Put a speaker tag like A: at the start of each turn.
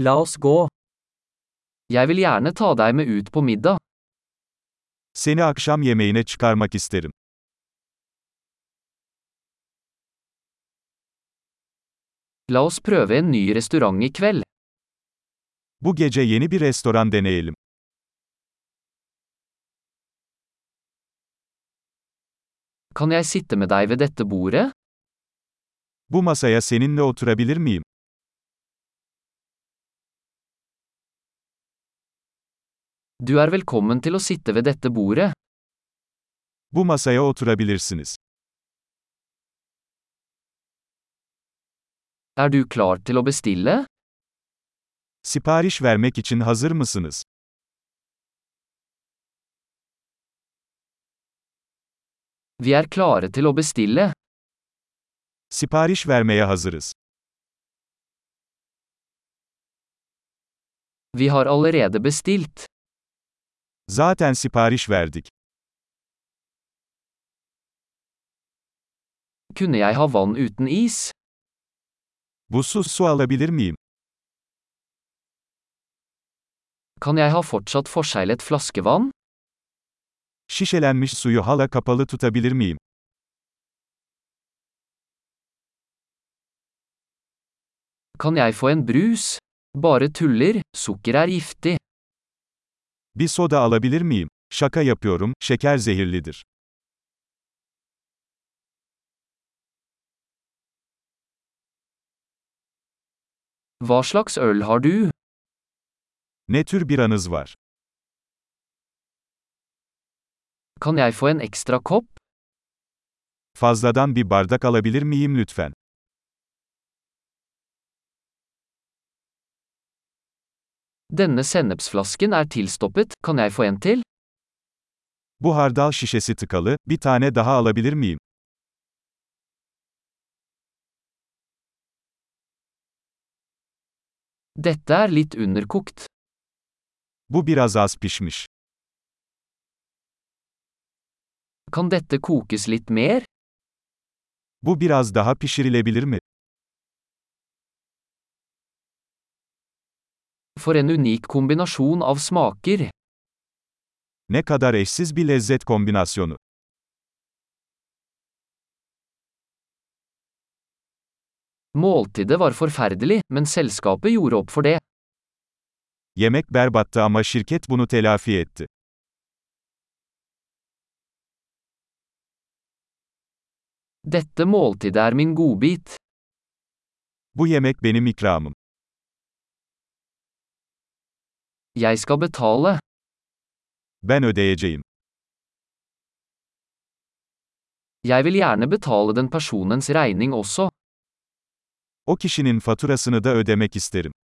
A: La oss gå. Jeg vil gjerne ta deg med ut på middag.
B: Seni akşam yemeğine çıkarmak isterim.
A: La oss prøve en ny restaurant i kveld.
B: Bu gece yeni bir restoran deneyelim.
A: Kan jeg sitte med deg ved dette bordet?
B: Bu masaya seninle oturabilir miyim?
A: Du er velkommen til å sitte ved dette bordet.
B: Bu masaya oturabilirsiniz.
A: Er du klar til å bestille?
B: Sipariş vermek için hazır mısınız?
A: Vi er klare til å bestille.
B: Sipariş vermeye hazırız.
A: Vi har allerede bestilt.
B: Zaten sipariş verdik.
A: Kunne jeg ha vann uten is?
B: Buzsuz su alabilir miyim?
A: Kan jeg ha fortsatt forseglet flaskevann?
B: Şişelenmiş suyu hala kapalı tutabilir miyim?
A: Kan jeg få en brus? Bare tuller, sukker er giftig.
B: Bir soda alabilir miyim? Şaka yapıyorum, şeker zehirlidir.
A: Hva slags øl har du?
B: Ne tür bir anız var?
A: Kan jeg få en ekstra kopp?
B: Fazladan bir bardak alabilir miyim lütfen?
A: Denne sennepsflasken er tilstoppet, kan jeg få en til?
B: Bu hardal şişesi tıkalı, bir tane daha alabilir miyim?
A: Dette er litt underkokt.
B: Bu biraz az pişmiş.
A: Kan dette kokes litt mer?
B: Bu biraz daha pişirilebilir mi?
A: For en unik kombinasjon av smaker.
B: Ne kadar eşsiz bir lezzet kombinasyonu.
A: Måltidet var forferdelig, men selskapet gjorde opp for det.
B: Yemek berbattı ama şirket bunu telafi etti.
A: Dette måltidet er min godbit.
B: Bu yemek benim ikramım.
A: Jeg skal betale.
B: Ben ödeyeceğim.
A: Jeg vil gjerne betale den personens regning også.
B: O kişinin faturasını da ödemek isterim.